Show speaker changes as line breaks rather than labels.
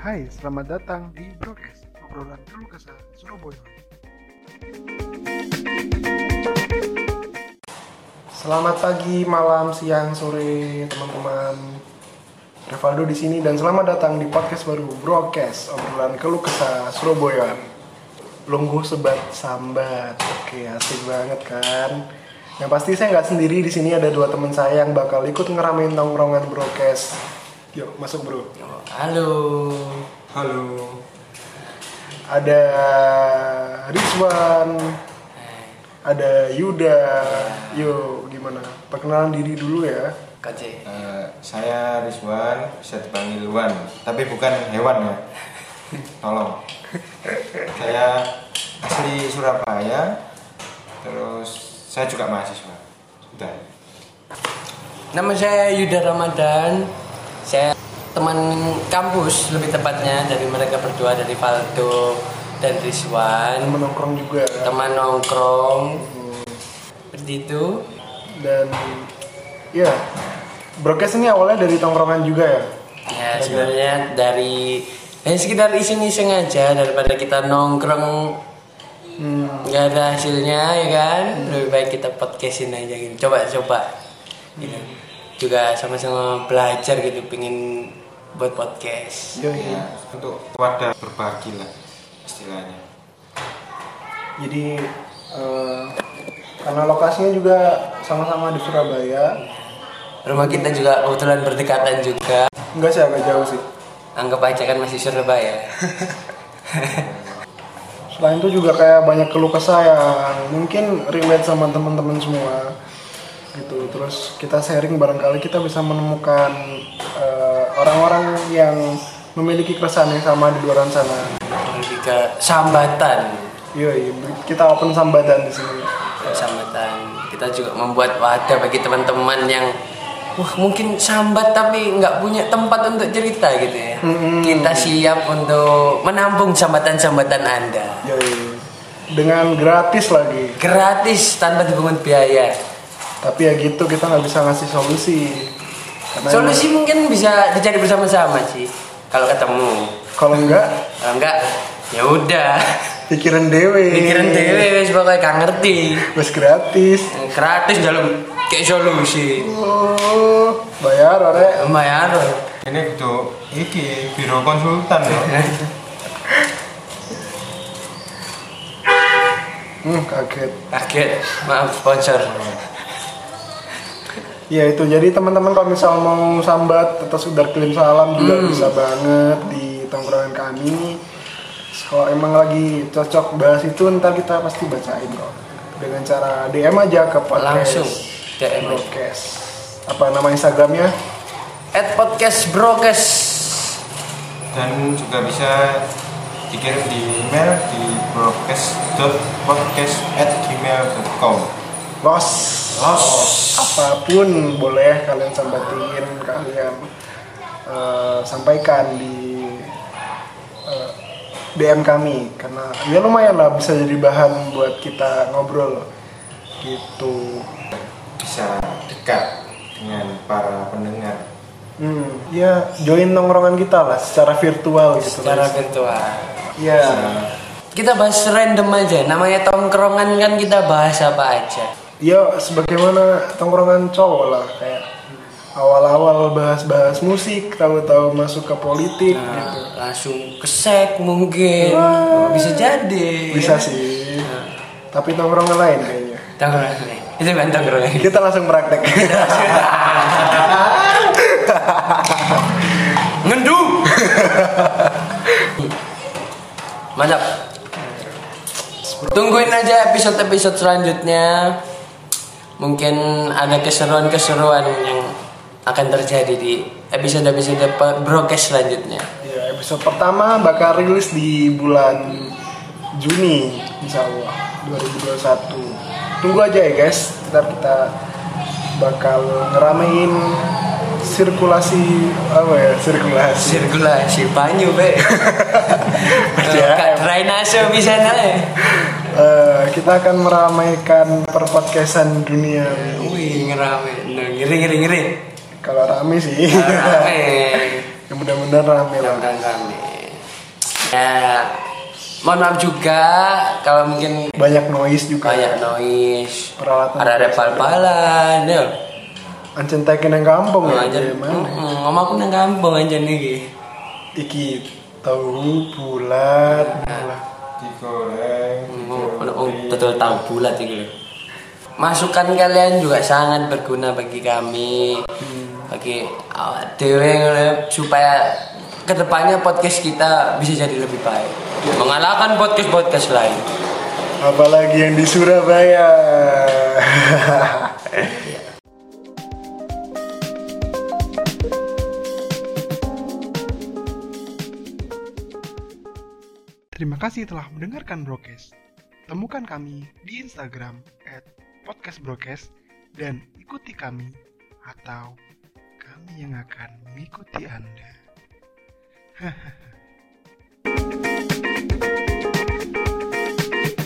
Hai, selamat datang di Brokes, obrolan keluh kesah Surabaya.
Selamat pagi, malam, siang, sore, teman-teman. Revaldo di sini dan selamat datang di podcast baru Broadcast obrolan keluh kesah Surabaya. Lungguh sebat sambat, oke asik banget kan. Yang pasti saya nggak sendiri di sini ada dua teman saya yang bakal ikut ngeramein tongkrongan Broadcast. Yuk masuk bro.
Halo.
Halo. Ada Rizwan, ada Yuda. Yuk gimana? Perkenalan diri dulu ya.
KC.
Eh, saya Rizwan, bisa dipanggil Wan, tapi bukan hewan ya. Tolong. Saya asli Surabaya, terus saya juga mahasiswa. Sudah.
Nama saya Yuda Ramadan. Saya teman kampus lebih tepatnya dari mereka berdua dari Valdo dan Rizwan.
Temen nongkrong juga.
Teman nongkrong. Seperti itu.
Dan ya, broadcast ini awalnya dari tongkrongan juga ya.
Ya sebenarnya dari ya sekitar iseng-iseng aja daripada kita nongkrong
Hmm,
nggak ada hasilnya ya kan lebih baik kita podcastin aja gitu coba coba gitu juga sama-sama belajar gitu pengen buat podcast
iya, iya.
Ya, untuk wadah berbagi lah istilahnya.
Jadi eh, karena lokasinya juga sama-sama di Surabaya,
rumah kita juga kebetulan berdekatan juga
enggak sih agak jauh sih.
anggap aja kan masih Surabaya
Selain itu juga kayak banyak keluh kesah yang mungkin relate sama teman-teman semua gitu. Terus kita sharing barangkali kita bisa menemukan eh, orang-orang yang memiliki keresahan yang sama di luar sana.
lebih ke sambatan
Iya, iya. Kita open sambatan di sini.
sambatan kita juga membuat wadah bagi teman-teman yang wah mungkin sambat tapi nggak punya tempat untuk cerita gitu ya kita siap untuk menampung sambatan-sambatan anda
Iya, iya. Dengan gratis lagi.
gratis tanpa dipungut biaya.
Tapi ya gitu kita nggak bisa ngasih solusi. Karena
Solusi mungkin bisa dicari bersama-sama sih kalau ketemu.
kalau enggak
Kalau enggak ya udah
pikiran dewe.
pikiran
iya.
dewe wis pokoknya gak ngerti.
Wes gratis.
Gratis dalam kayak solusi. ya,
Oh, bayar orek.
Bayar.
Ini untuk iki biro konsultan ya. loh.
Hmm, kaget.
Kaget. Maaf sponsor.
Ya itu jadi teman-teman kalau misal mau sambat atau sudar kirim salam juga
Hmm.
bisa banget di tongkrongan kami. Kalau emang lagi cocok bahas itu ntar kita pasti bacain kok dengan cara DM aja ke podcast.
Langsung DM aja.
Podcast. Apa nama Instagramnya?
At podcast brokes.
Dan juga bisa dikirim di email di broadcast.podcast@gmail.com.
Los.
Los.
Apapun boleh kalian sambatin kalian eh, sampaikan di eh, DM kami karena ya lumayan lah bisa jadi bahan buat kita ngobrol gitu.
bisa dekat dengan para pendengar.
Hmm, ya join nongkrongan kita lah secara virtual gitu.
Secara
guys.
virtual.
Iya.
Kita bahas random aja. Namanya tongkrongan kan kita bahas apa aja.
Ya sebagaimana tongkrongan cowok lah kayak awal-awal bahas-bahas musik, tahu-tahu masuk ke politik gitu.
Nah, langsung kesek mungkin bisa jadi
Bisa sih. Tapi tongkrongan lain kayaknya.
tongkrongan itu kan tongkrongan
Kita langsung praktek.
ngendu mantap tungguin aja episode episode selanjutnya mungkin ada keseruan keseruan yang akan terjadi di episode episode broadcast selanjutnya
ya, episode pertama bakal rilis di bulan Juni, insya Allah 2021. Tunggu aja ya guys, ntar kita bakal ngeramein sirkulasi apa ya sirkulasi
sirkulasi banyu be
Ya.
kak Drainase bisa naik
Eh, kita akan meramaikan perpodcastan dunia
wih ngerame ngeri ngeri ngeri
kalau rame sih
Nah, rame
ya mudah-mudahan rame lah
mudah-mudahan rame Ya, mohon maaf juga kalau mungkin
Banyak noise juga.
banyak noise.
Peralatan.
Ada ada pal-palan. Ya.
Ancen tekin yang kampung ya.
aja.
Iya, mana?
Mama aku nang kampung aja nih.
Iki tahu bulat. bulat.
digoreng
Oh, betul tahu bulat itu. loh. Masukan kalian juga sangat berguna bagi kami,
Hmm.
bagi awak dewe ngono ya, supaya kedepannya podcast kita bisa jadi lebih baik,
Iya.
mengalahkan podcast podcast lain.
Apalagi yang di Surabaya.
Terima kasih telah mendengarkan Brokes. Temukan kami di Instagram at podcastbrokes dan ikuti kami atau kami yang akan mengikuti Anda.